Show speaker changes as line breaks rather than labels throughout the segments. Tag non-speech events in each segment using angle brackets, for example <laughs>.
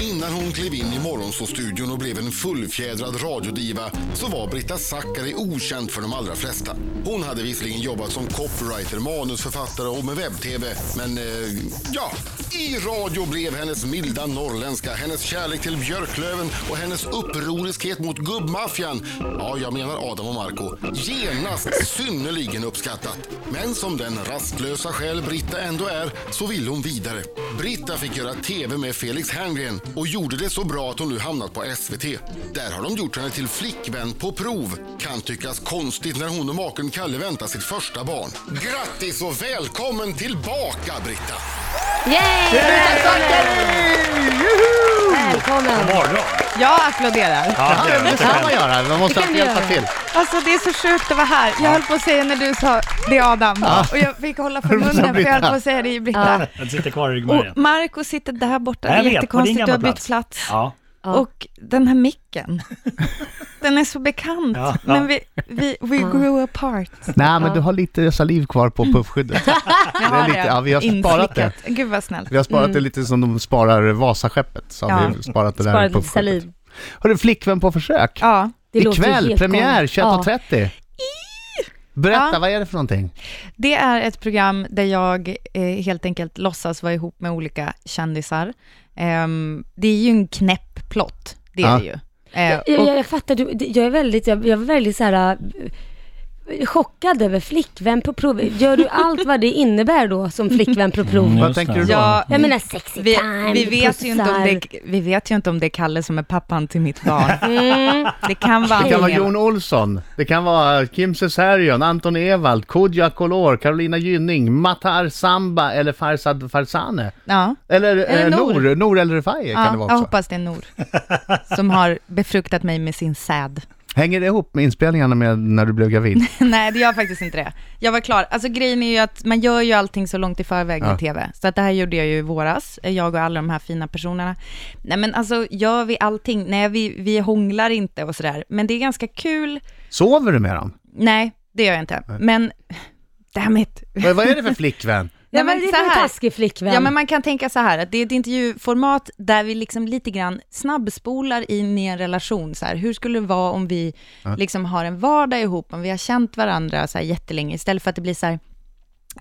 Innan hon klev in i Morgonzoo-studion och blev en fullfjädrad radiodiva så var Britta Zackari okänd för de allra flesta. Hon hade visserligen jobbat som copywriter, manusförfattare och med webb-tv, men eh, ja, i radio blev hennes milda norrländska, hennes kärlek till Björklöven och hennes upproriskhet mot gubbmaffian, ja, jag menar Adam och Marco, genast synnerligen uppskattat. Men som den rastlösa själ Britta ändå är så ville hon vidare. Britta fick göra TV med Felix Herngren och gjorde det så bra att hon nu hamnat på SVT. Där har de gjort henne till flickvän på prov. Kan tyckas konstigt när hon och maken Kalle väntar sitt första barn. Grattis och välkommen tillbaka Britta!
Yay! Välkommen!
Morgon!
Jag applåderar.
Ja, det är
Det
det.
kan man göra, man måste
Det kan
alltid
du
hjälpa
göra.
till.
Alltså det är så sjukt att vara här. Jag höll på att säga när du sa det är Adam och jag fick hålla för
Du sa
munnen för jag höll
Britta.
på att säga det i Britta.
Den sitter kvar i
Och
ryggmärgen.
Marco sitter där borta, det
Jag
är
vet, på din
jättekonstigt, du
gamla
har
plats.
bytt plats.
Ja.
Och den här micken, den är så bekant,
Ja, ja.
men vi, vi we grew apart.
Nej, men du har lite saliv kvar på puffskyddet.
Jag
är lite- ja, vi har sparat det.
inslickat. Gud vad snällt.
Vi har sparat det lite som de sparar Vasaskeppet, så har
Ja.
vi sparat det där
Sparat lite
puffskyddet.
saliv.
Har du flickvän på försök?
Ja.
Det låter ju
Ikväll,
helt
premiär
galet.
21.30. Berätta,
Ja.
vad är det för någonting?
Det är ett program där jag eh, helt enkelt låtsas vara ihop med olika kändisar. Ehm, det är ju en knäpp plott, det
Ja.
är det ju. Eh,
Jag,
och-
jag, jag fattar, du, det- jag är väldigt, jag, jag är väldigt så här äh, chockad över flickvän på prov. Gör du allt vad det innebär då som flickvän på prov?
Vad
Just
tänker
det.
du då?
Ja,
Jag menar sexy
vi,
alltså, time,
vi, vet ju inte om det, är- vi vet ju inte om det är Kalle som är pappan till mitt barn.
Mm.
Det kan vara
Det kan vara
antingen-
Jon Olsson, det kan vara Kim Cesarion, Anton Ewald, Kodjo Akolor, Carolina Gynning, Matar Samba eller Farzad Farzaneh.
Ja,
Eller,
Eller
eh,
Nour.
Nour, Nour, eller Refai kan
ja
det vara
jag
också.
hoppas det är Nor som har befruktat mig med sin säd.
Hänger det ihop med inspelningarna med när du blev gravid?
<laughs> Nej, det gör faktiskt inte det. Jag var klar. Alltså grejen är ju att man gör ju allting så långt i förväg med
Ja.
TV. Så att det här gjorde jag ju i våras, eh, jag och alla de här fina personerna. Nej men alltså, gör vi allting? Nej, vi, vi hånglar inte och sådär. Men det är ganska kul.
Sover du med dem?
Nej, det gör jag inte. Men, <laughs> damn it.
Vad vad är
<laughs>
det för flickvän?
Nej,
Nej,
men
men
det
så
är en
här.
taskig flickvän.
Ja, men man kan tänka så här, att det är ett intervjuformat där vi liksom lite grann snabbspolar in i en relation. Så här, hur skulle det vara om vi liksom har en vardag ihop, om vi har känt varandra så här jättelänge, istället för att det blir så här,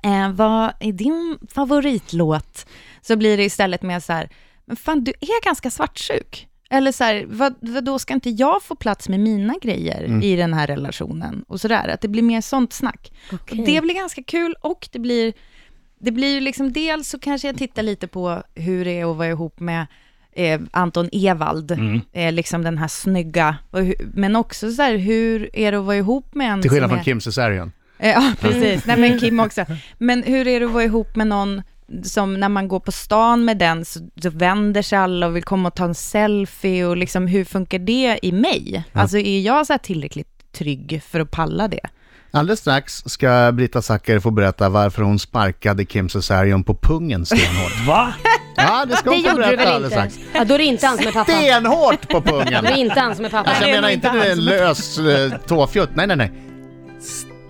eh, vad är din favoritlåt? Så blir det istället mer så här, men fan du är ganska svartsjuk. Eller så här, vad, vad då ska inte jag få plats med mina grejer i den här relationen? Och sådär, att det blir mer sånt snack.
Okej.
Och det blir ganska kul och det blir, det blir ju liksom dels så kanske jag tittar lite på hur det är att vara ihop med eh, Anton Ewald,
Mm.
eh, liksom den här snygga, och hu- men också så här, hur är det att vara ihop med en
Till skillnad
som
från
är-
Kim Mm. Cesarion.
Eh, Ja, precis. Nej, men
<laughs>
Kim också. Men hur är det att vara ihop med någon som när man går på stan med den så, så vänder sig alla och vill komma och ta en selfie och liksom hur funkar det i mig? Alltså är jag så här tillräckligt trygg för att palla det?
Alldeles strax ska Brita Zacker få berätta varför hon sparkade Kim Cesarion på
<laughs>
pungen stenhårt.
Va?
Ja, det ska
det
hon få
gjorde du
berätta
väl
alldeles
inte?
strax.
Ja, då är det inte han som är pappan.
Stenhårt på
Då
pungen!
är <laughs> det inte han som är pappan.
Alltså jag
det är
menar
nog
inte
inte
en lös eh, tåfjutt, nej nej nej.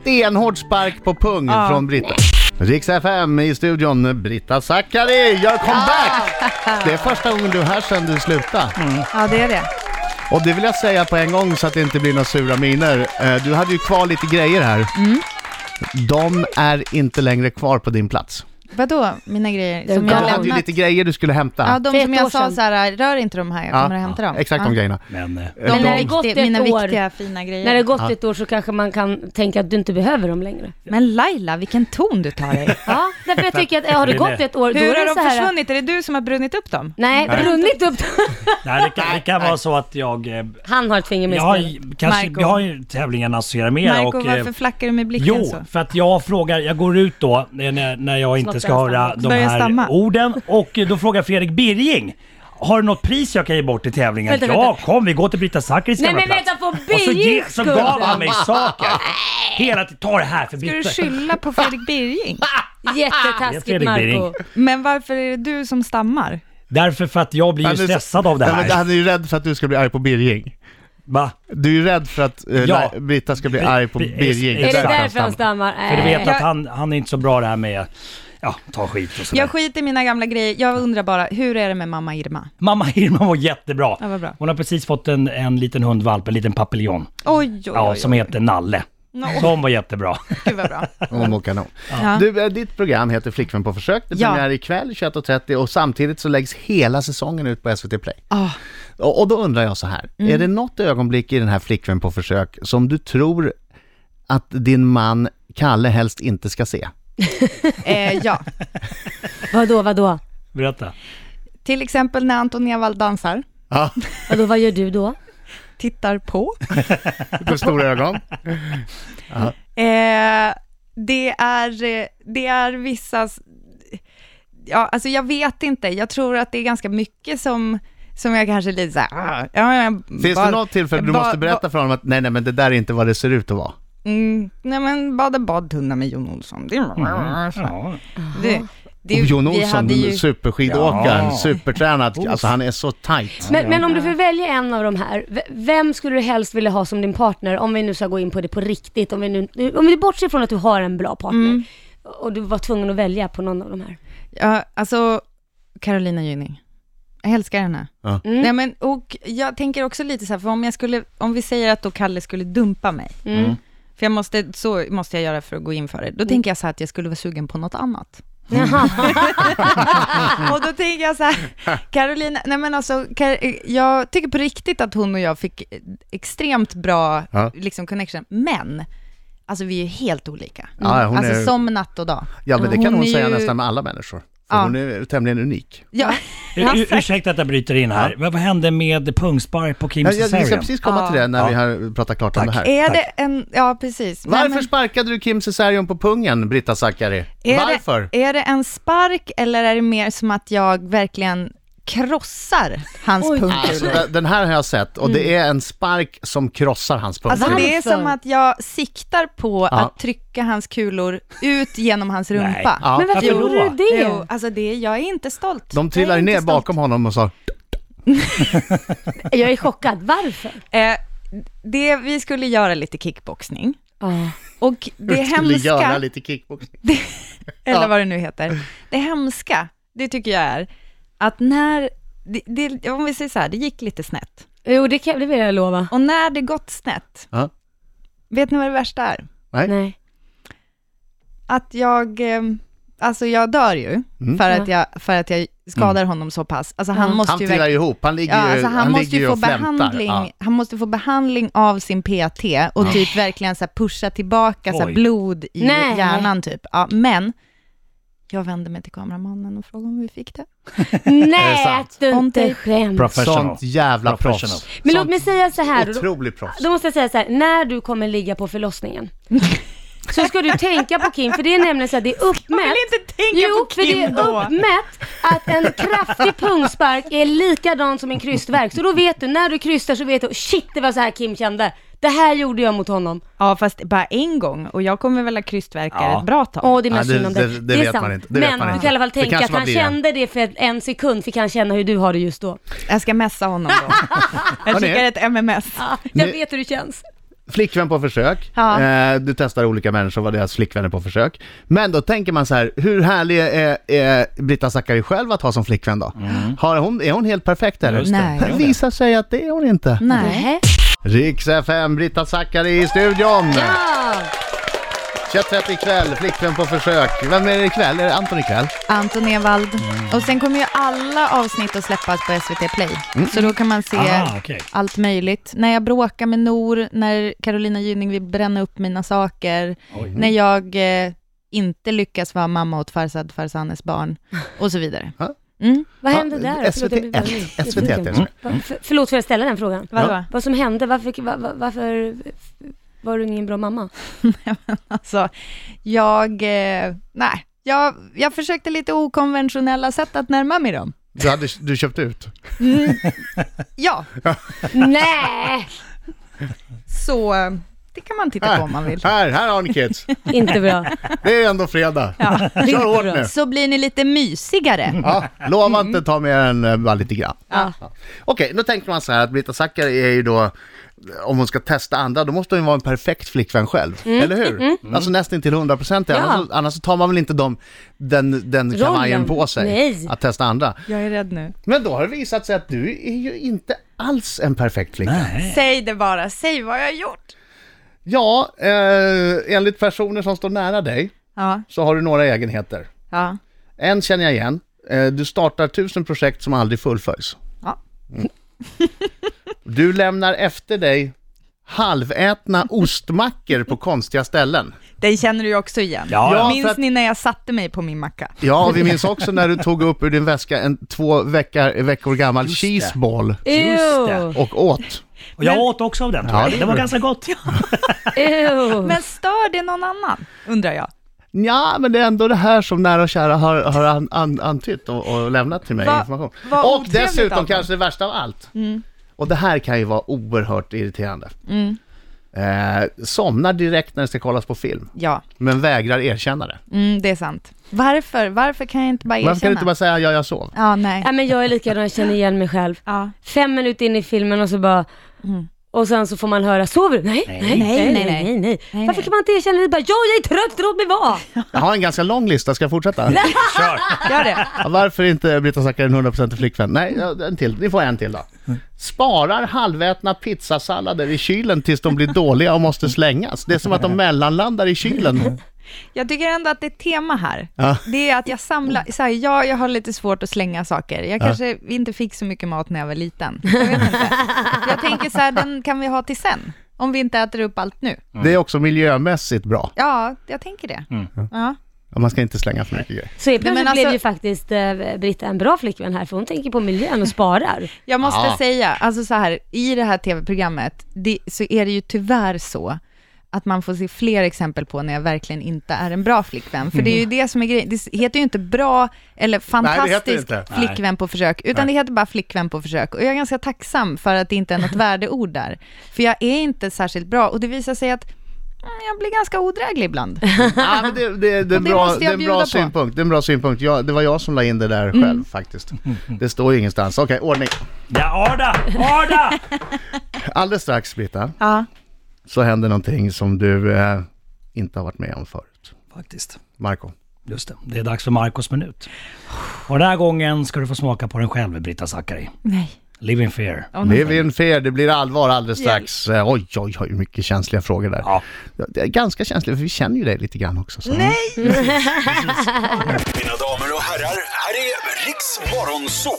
Stenhård spark på pung
Ja.
från Britta. Rix FM i studion, Britta Zackari, gör comeback!
Ah.
Det är första gången du är här sedan du slutade.
Ja, det är det.
Och det vill jag säga på en gång så att det inte blir några sura miner. Eh, Du hade ju kvar lite grejer här.
Mm.
De är inte längre kvar på din plats.
Vadå, mina grejer
Det
som
är
Du
jag
galet.
hade ju
lämnat?
lite grejer du skulle hämta.
Ja, de
För
som
ett år
jag sa
sedan.
så här, rör inte de här, jag kommer
Ja,
att hämta dem.
Exakt de
Ja.
grejerna.
Men eh,
De
Men när
är
det gått
viktiga,
ett
mina
år-
viktiga, fina grejer.
När det har gått ett år så kanske man kan tänka att du inte behöver dem längre.
Men Laila, vilken ton du tar
<laughs>
i.
Ja, därför jag tycker att har det
är
gått
det.
ett år, då
Hur
är
har
det
de
så här...
försvunnit? Är det du som har brunnit upp dem?
Nej, brunnit upp
nej, det kan, det kan vara så att jag... eh,
Han har ett finger med i
Jag har,
spelet.
ju- kanske,
Marco.
jag har ju tävlingen Associera Mera
Marco,
och... eh,
varför flackar du med blicken
Jo,
så?
för att jag frågar, jag går ut då eh, när, när jag inte
Snart
ska
börjar
höra
stamma.
de
Börjar
här
stamma.
orden och eh, då frågar Fredrik Birging Har du något pris jag kan ge bort i tävlingen?
Vänta,
ja,
vänta.
kom vi går till Brita Zackeris
Nej,
gamla
men
plats.
vänta, på
Och så, ge,
Birgings
så
skull.
gav han mig saker. Hela tiden, ta det här för
Ska du
Brita.
skylla
<laughs>
på Fredrik Birging?
Det är
Jättetaskigt
Ah, Fredrik
Marco.
Bering.
Men varför är det du som stammar?
Därför för att jag blir ju
Han är så-
stressad av det
Ja, men
här.
Han är ju rädd för att du ska bli arg på Birging.
Va?
Du är ju rädd för att eh,
Ja.
Lai- Britta ska bli
Bri-
arg på
Bri-
Birging.
Är
Är det
Exakt.
Eh,
därför han stammar? Äh,
För du
Nej.
vet att han, han är inte så bra det här med ja, ta skit och sådär.
Jag skiter i mina gamla grejer. Jag undrar bara, hur är det med mamma Irma?
Mamma Irma var jättebra.
Ja, vad bra.
Hon har precis fått en, en liten hundvalp, en liten papillon.
Oj, oj, oj.
Ja, som heter Nalle.
No.
Som var
<laughs>
jättebra.
Gud vad bra.
Hon mår kanon.
Ja.
Du, eh, ditt program heter Flickvän på försök. Det
Ja.
premiär ikväll 21.30 och samtidigt så läggs hela säsongen ut på SVT Play.
Ah,
Och, och då undrar jag så här,
Mm.
är det något ögonblick i den här Flickvän på försök som du tror att din man Kalle helst inte ska se?
eh,
<laughs>
ja,
Vadå, vadå?
Berätta.
till exempel när Anton Ewald dansar,
Ja,
Vadå, vad gör du då?
tittar på.
med stora ögon.
Eh, det, är, eh, det är vissa... s- Ja, alltså jag vet inte. Jag tror att det är ganska mycket som, som jag kanske är lite så här... ah, Ja, jag
<laughs> Finns
bad-
det något tillfälle du
bad-
måste berätta för honom att nej, nej, men det där är inte vad det ser ut att vara?
bad- Mm, nej, men bada badtunna med Jon Olsson. Det,
Ja.
det, det,
Och Mm. Jon
vi
Olsson,
hade ju-
superskidåkaren,
Ja.
supertränad. Alltså han är så
Mm.
tajt.
Men, men om du får välja en av de här, v- vem skulle du helst vilja ha som din partner om vi nu ska gå in på det på riktigt? Om vi nu, om vi bortser från att du har en bra partner och du var tvungen att välja på någon av de här.
Ja, alltså Carolina Gynning. Jag älskar henne.
Ja.
Mm.
Nej, men, och jag tänker också lite så här, för om, jag skulle, om vi säger att då Kalle skulle dumpa mig,
Mm.
för jag måste, så måste jag göra för att gå in för det, då tänker jag så här att jag skulle vara sugen på något annat.
Jaha.
<laughs> och då tänker jag så här,
<laughs>
Carolina, nej men alltså, Kar- jag tycker på riktigt att hon och jag fick extremt bra
Ja.
liksom, connection, men Alltså vi är ju helt olika.
Ja, hon
alltså
är-
som natt och dag.
Ja, men det kan hon,
är
säga
ju-
nästan med alla människor. För
Ja.
hon är tämligen unik.
Ja,
U- u- ursäkta att jag bryter in här. Vad, vad hände med pungspark på Kim
Ja, jag, vi ska
Cesarion?
precis komma
Ja.
till det när vi
Ja.
har pratat klart om
Tack.
det här.
<laughs> Är
Tack.
det en, ja precis. Nej,
Varför
men
sparkade du Kim Cesarion på pungen, Britta Zackari?
är
Varför?
Det, är det en spark eller är det mer som att jag verkligen krossar hans
Oj.
Alltså,
pungkulor?
den- den här har jag sett och det är en spark som krossar hans pung.
Mm. Alltså det är
Varför?
som att jag siktar på
Ja.
att trycka hans kulor ut genom hans rumpa.
<laughs>
Ja.
Men varför
Varför
gjorde
då?
du det?
Jo, alltså det, jag är inte stolt.
De
Jag
trillar
är
ju
inte
ner
stolt.
bakom honom och så.
Jag är chockad, varför?
Eh, det, vi skulle göra lite kickboxning.
Ja.
Och det
skulle göra
hemska,
lite kickboxning. Ja.
eller vad det nu heter. Det hemska, det tycker jag är att när, det, det, om vi säger så här, det gick lite snett.
Jo, det, kan, det vill jag lova.
Och när det gått snett,
Ja.
vet ni vad det värsta är?
Nej.
Nej.
Att jag, eh, alltså jag dör ju
Mm.
för, att jag, för att jag skadar honom så pass. Alltså han måste
Han
ju
trillar
verkligen-
ju ihop, Mm. han ligger
Ja,
ju,
alltså han, måste
ligger
ju
ju
få
och flämtar.
behandling,
Ja.
han måste få behandling av sin PT och typ verkligen så här pusha tillbaka så här
Oj.
blod i
Nej.
hjärnan typ. Ja, men jag vände mig till kameramannen och frågade om vi fick det.
Nej,
sant?
att du
On
inte
tape.
skämtar.
Professional.
Sånt jävla
Professional.
proffs.
Men låt
Sånt
mig säga så här. då-
Otrolig proffs.
Då måste jag säga så här, när du kommer ligga på
<laughs>
förlossningen så ska du tänka på Kim, för det är nämligen så här, det är uppmätt.
vill inte tänka
jo,
på
för det är
Kim då.
uppmätt att en kraftig pungspark är likadan som en krystvärk. Så då vet du, när du krystar så vet du, shit det var så här Kim kände. Det här gjorde jag mot honom.
Ja, fast bara en gång och jag kommer väl ha krystvärkar
Ja.
ett bra tag.
Åh, det är mest
Ja, det-
synd om dig.
det- det vet man inte. Det vet
Men
man
du
inte.
kan i alla fall
Det
tänka
kanske
att
man
han
blir.
kände det för en sekund, fick han känna hur du har det just då.
Jag ska messa honom
<laughs>
då. Jag
Hörni.
skickar ett MMS.
Ja, jag
Nu-
vet hur det känns.
Flickvän på försök.
Ja.
Eh, du testar olika människor, vad deras flickvänner på försök. Men då tänker man så här, hur härlig är, är Britta Zackari själv att ha som flickvän då? Har hon, är hon helt perfekt eller?
Just det.
Nej.
Det visar sig att det är hon inte.
Nej.
Riks FM, Britta Zackari i studion!
Ja.
21.30 ikväll, flickvän på försök. Vem är det ikväll? Är det Anton ikväll?
Anton Ewald. Och sen kommer ju alla avsnitt att släppas på SVT Play. Så då kan man se
Aha, Mm. Ah, okej.
allt möjligt. När jag bråkar med Nor, när Carolina Gynning vill bränna upp mina saker,
Mm.
när jag eh, inte lyckas vara mamma åt Farzad
<laughs>
Farzanes barn och så vidare.
Ja.
Mm.
Vad hände
Ja,
där?
SVT
Förlåt, jag blev-
1. SVT 1
Mm. För- Förlåt, får jag ställa den frågan?
Vadå?
Vad som hände, varför, va- va- varför var du ingen bra mamma?
Alltså, jag, eh, nej, jag, jag försökte lite okonventionella sätt att närma mig dem.
du, hade, du köpte ut.
Ja,
Nej!
så eh, det kan man titta på om man vill.
Här, här har ni kids.
<laughs> Inte bra.
Det är ändå fredag. Kör hårt nu.
Så blir ni lite mysigare.
Ja, lova inte ta mer än eh, bara lite grann.
Ja.
Okej, då tänker man så här att Britta Zackari är ju då om hon ska testa andra, då måste hon ju vara en perfekt flickvän själv. Eller hur? Alltså nästan till 100 procent.
Ja.
Annars, annars så tar man väl inte de, den, den
Rollen.
kavajen på sig
Nej.
att testa andra.
Jag är rädd nu.
Men då har det visat sig att du är ju inte alls en perfekt flicka.
Nej.
Säg det bara, säg vad jag har gjort.
Ja, eh, enligt personer som står nära dig
Ja,
så har du några egenheter.
ja,
En känner jag igen. Eh, du startar tusen projekt som aldrig fullföljs. Mm.
ja.
<laughs> Du lämnar efter dig halvätna ostmackor på konstiga ställen.
Den känner du ju också igen.
Ja,
Ja,
Minns
för att-
ni när jag satte mig på min macka?
Ja, vi minns också när du tog upp ur din väska en två veckor, veckor gammal
Just det.
cheeseball
Just det.
Ew,
och åt.
Och jag åt också av den tror
Ja,
jag.
det
Det var
gjorde
ganska gott.
ew.
Men stör det någon annan, undrar jag?
Ja, men det är ändå det här som nära och kära har, har an, an, antytt och, och lämnat till mig
Va-
information.
vad
och
otrevligt alltså. Mm. av
dessutom
dem.
kanske det värsta av allt. Och det här kan ju vara oerhört irriterande.
Mm.
Eh, somnar direkt när det ska kollas på film,
Ja,
men vägrar erkänna det.
mm, det är sant. Varför? Varför kan jag inte bara erkänna?
Varför kan du inte bara säga ja, jag sov?
Ja, nej.
Ja, men jag är likadan, jag känner igen mig själv.
Ja.
Fem minuter in i filmen och så bara... Och sen så får man höra, sover du? Nej, nej, Mm. nej, nej, nej, nej,
Nej,
Varför
nej.
kan man inte erkänna det? Bara, ja, jag är trött, låt mig vara!
Jag har en ganska lång lista, ska jag fortsätta?
<laughs> Kör.
Gör det.
Ja, Varför inte Brita Zackari en 100% flickvän? Nej, ja, en till. Ni får en till då. Sparar halvätna pizzasallader i kylen tills de blir dåliga och måste slängas. Det är som att de mellanlandar i kylen.
Jag tycker ändå att det är ett tema här.
Ja.
Det är att jag samlar, så här, ja, jag har lite svårt att slänga saker. Jag kanske inte fick så mycket mat när jag var liten. Jag vet inte. Jag tänker så här, den kan vi ha till sen. Om vi inte äter upp allt nu.
Det är också miljömässigt bra.
Ja, jag tänker det. Ja.
Ja, Man ska inte slänga för mycket grejer.
Så helt
Nej, men
plötsligt
alltså-
blev ju faktiskt eh, Britta en bra flickvän här, för hon tänker på miljön och sparar.
Jag måste
Ja.
säga, alltså så här, i det här tv-programmet det, så är det ju tyvärr så att man får se fler exempel på när jag verkligen inte är en bra flickvän. För det är ju det som är grejen. Det heter ju inte bra eller fantastisk
inte.
flickvän på försök, utan det heter bara flickvän på försök. Och jag är ganska tacksam för att det inte är något värdeord där. För jag är inte särskilt bra och det visar sig att mm, jag blir ganska odräglig ibland.
<laughs> Ja, men det, det, det, är en
det
bra,
måste
det
jag
är en
bjuda
bra
på. Mm.
synpunkt. Det är en bra synpunkt. Jag, det var jag som la in det där själv faktiskt. Det står ju ingenstans. Okej, ordning.
Ja, Arda!
<laughs>
Arda!
Alldeles strax, Brita,
Ja.
så händer någonting som du eh, inte har varit med om förut.
Faktiskt.
Marco.
Just det. Det är dags för Marcos minut. Och den här gången ska du få smaka på den själv, Brita Zackari.
Nej.
Live in fear.
Live in fear, det blir allvar alldeles strax. Eh, Oj, oj, oj, mycket känsliga frågor där.
Ja.
Ja, Det är ganska känsliga, för vi känner ju dig lite grann också. Så.
Mina damer och herrar, här är Riks Morgonzoo!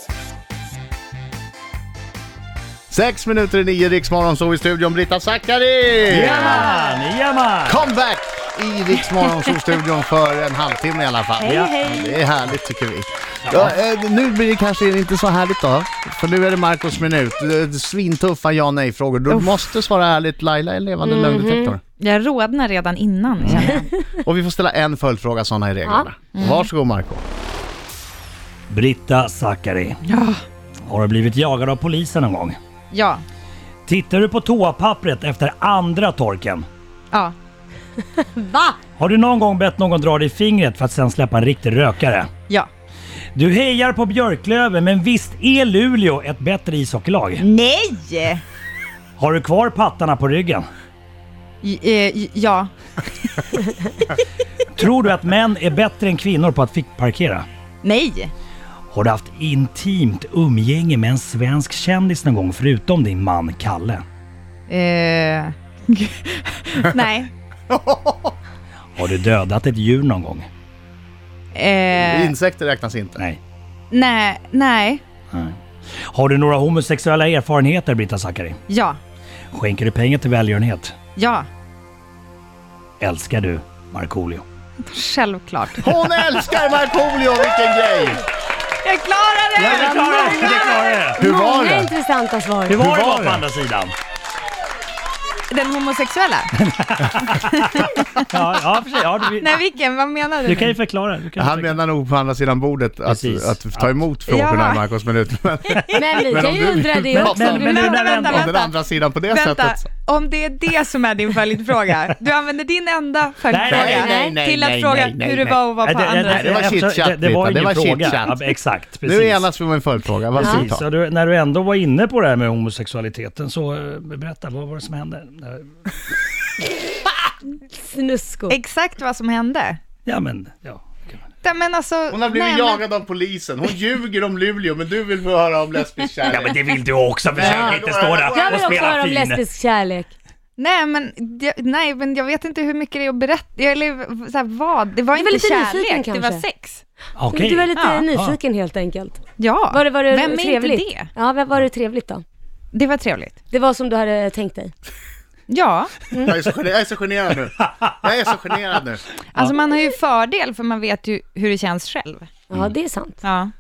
Sex minuter i nio, Riksmorgon, så i studion Brita Zackari!
Jajamän! Jajamän!
Comeback i Riksmorgon, studion för en halvtimme i alla fall.
Ja.
Det är härligt tycker vi. Ja, eh, nu blir det kanske inte så härligt då, för nu är det Marcos minut. Eh, Svintuffa ja nej-frågor. Du måste svara ärligt. Laila är en levande
Mhm.
lögndetektor.
Jag rodnar redan innan, känner jag.
Och vi får ställa en följdfråga, sådana är reglerna.
Mm.
Varsågod Marco.
Britta Zackari.
Ja.
Har du blivit jagad av polisen någon gång?
Ja.
Tittar du på toapappret efter andra torken?
Ja.
Va?
Har du någon gång bett någon dra dig i fingret för att sen släppa en riktig rökare?
Ja.
Du hejar på Björklöven, men visst är Luleå ett bättre ishockeylag?
Nej!
Har du kvar pattarna på ryggen?
J- eh, j- ja.
Tror du att män är bättre än kvinnor på att fickparkera?
Nej.
Har du haft intimt umgänge med en svensk kändis någon gång förutom din man Kalle?
Eh, <laughs> nej.
Har du dödat ett djur någon gång?
Eh,
Insekter räknas inte.
Nej.
nej. Nej.
Har du några homosexuella erfarenheter, Brita Zackari?
Ja.
Skänker du pengar till välgörenhet?
Ja.
Älskar du Markoolio?
Självklart.
Hon älskar Markoolio, vilken grej!
Jag klarar det!
Det klarar du! Det klarar du!
Hur var
Många
det?
intressanta svar.
Hur var
Hur
det
var
då på
det?
andra sidan?
Den homosexuella?
Ja, ja, för sig, ja du,
Nej, vilken? Vad menar du?
du kan ju
nu?
förklara. Du kan
Han
förklara.
menar nog på andra sidan bordet att,
Precis.
att ta emot frågorna
Ja. <laughs>
i Marcos minut. Men
Men vi
Men
kan
om
ju
du-
undra det
Men-
också.
men- men-
Du-
vänta,
om den andra sidan på det
Vänta.
sättet.
om det är det som är din följdfråga, du använder din enda följdfråga
Nej,
nej, nej,
till att
nej,
fråga
nej, nej,
hur det
nej.
var att vara på andra
det var
eftersom-
chitchat,
det- Det var
Britta, det
ingen
var
fråga.
chitchat.
Ja, Exakt, precis.
Nu enas vi om en följdfråga. Vad ska vi
Precis,
ta?
och du, när du ändå var inne på det här med homosexualiteten så eh, berätta, vad var det som hände? Eh,
Snusko.
Exakt vad som hände.
Ja men, ja.
Nej, Men alltså,
Hon har blivit
nej, men-
jagad av polisen. Hon ljuger om Luleå, men du vill få höra om lesbisk
Ja men
kärlek.
det vill du också, försök inte stå
Jag
där och
vill också
spela
höra om
fin.
lesbisk kärlek.
Nej men, jag, nej, men jag vet inte hur mycket det är att berätta. Eller så här, vad? Det var
Du var
inte
lite
kärlek,
nyfiken,
det var
kanske.
sex.
Okej.
Du var lite
Ah.
Ja.
nyfiken helt enkelt.
Ja,
Var det, var det
vem är
trevligt?
inte det?
Ja, var- var det trevligt då?
Det var trevligt.
Det var som du hade tänkt dig.
Ja,
Jag är så gener- jag är så generad nu. Jag är så generad nu.
alltså man har ju fördel för man vet ju hur det känns själv.
Mm.
Ja, det är sant.
Ja.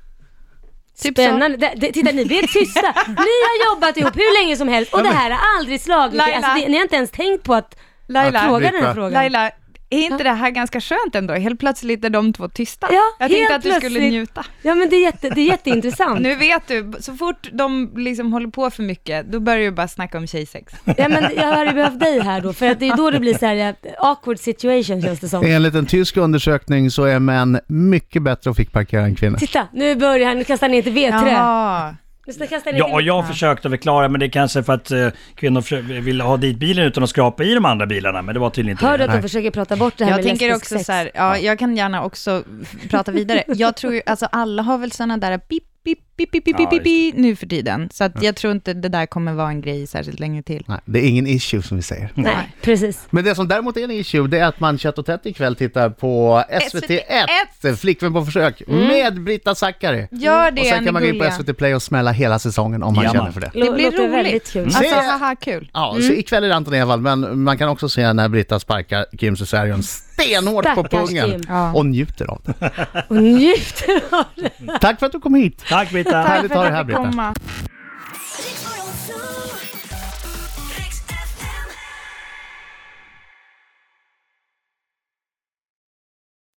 Typ så.
Spännande. Det, det, titta, ni blir
<laughs>
tysta. Ni har jobbat ihop hur länge som helst och det här har aldrig slagit er.
Laila.
Alltså, det, ni har inte ens tänkt på att
Laila,
fråga den här
Britta.
frågan.
Laila, är inte det här ganska skönt ändå? Helt plötsligt är de två tysta.
Ja,
jag tänkte
helt
att du skulle
plötsligt.
njuta.
Ja, men det är, jätte, det är jätteintressant.
<laughs> Nu vet du, så fort de liksom håller på för mycket, då börjar du bara snacka om tjejsex.
Ja, men jag hade behövt dig här då, för att det är då det blir så här ja, awkward situation känns det som.
Enligt en tysk undersökning så är män mycket bättre att fickparkera än kvinnor.
Titta, nu börjar han, nu kastar han ner till vedträ.
Jaha.
Nu ska jag kasta ner
Ja, och
till-
jag försökte förklara, men det är kanske för att eh, kvinnor försö- vill ha dit bilen utan att skrapa i de andra bilarna, men det var tydligen inte
Hör du
det.
att de försöker prata bort det här
Jag
med
tänker
lesbisk
också
sex?
så här, ja, jag kan gärna också f-
<laughs>
prata vidare. Jag tror ju, alltså alla har väl sådana där pip, pip, pip, pip, pip,
Ja,
pip, pip, pip nu för tiden. Så att jag tror inte det där kommer vara en grej särskilt länge till.
Nej, det är ingen issue som vi säger.
Nej, precis.
Men det som däremot är en issue, det är att man kött och tätt ikväll tittar på SVT1, Flickvän på försök, med Britta Zackari.
Gör Mm. det,
Och sen
ni
kan man gå in på
gulliga.
SVT Play och smälla hela säsongen om man
Jamma.
känner för det.
Det
Det blir
blir låter
roligt.
väldigt
Mm.
kul.
Alltså,
Se-
haha, kul.
Ja,
Mm.
så ikväll är det Anton Ewald, men man kan också se när Britta sparkar Kim Cesarion stenhårt på
Stackars
pungen
Kim.
Ja.
och njuter av det.
Och njuter av det.
Tack för att du kom hit!
Tack Britta!
Härligt att ha dig här
Tack för att
Britta.
jag fick komma.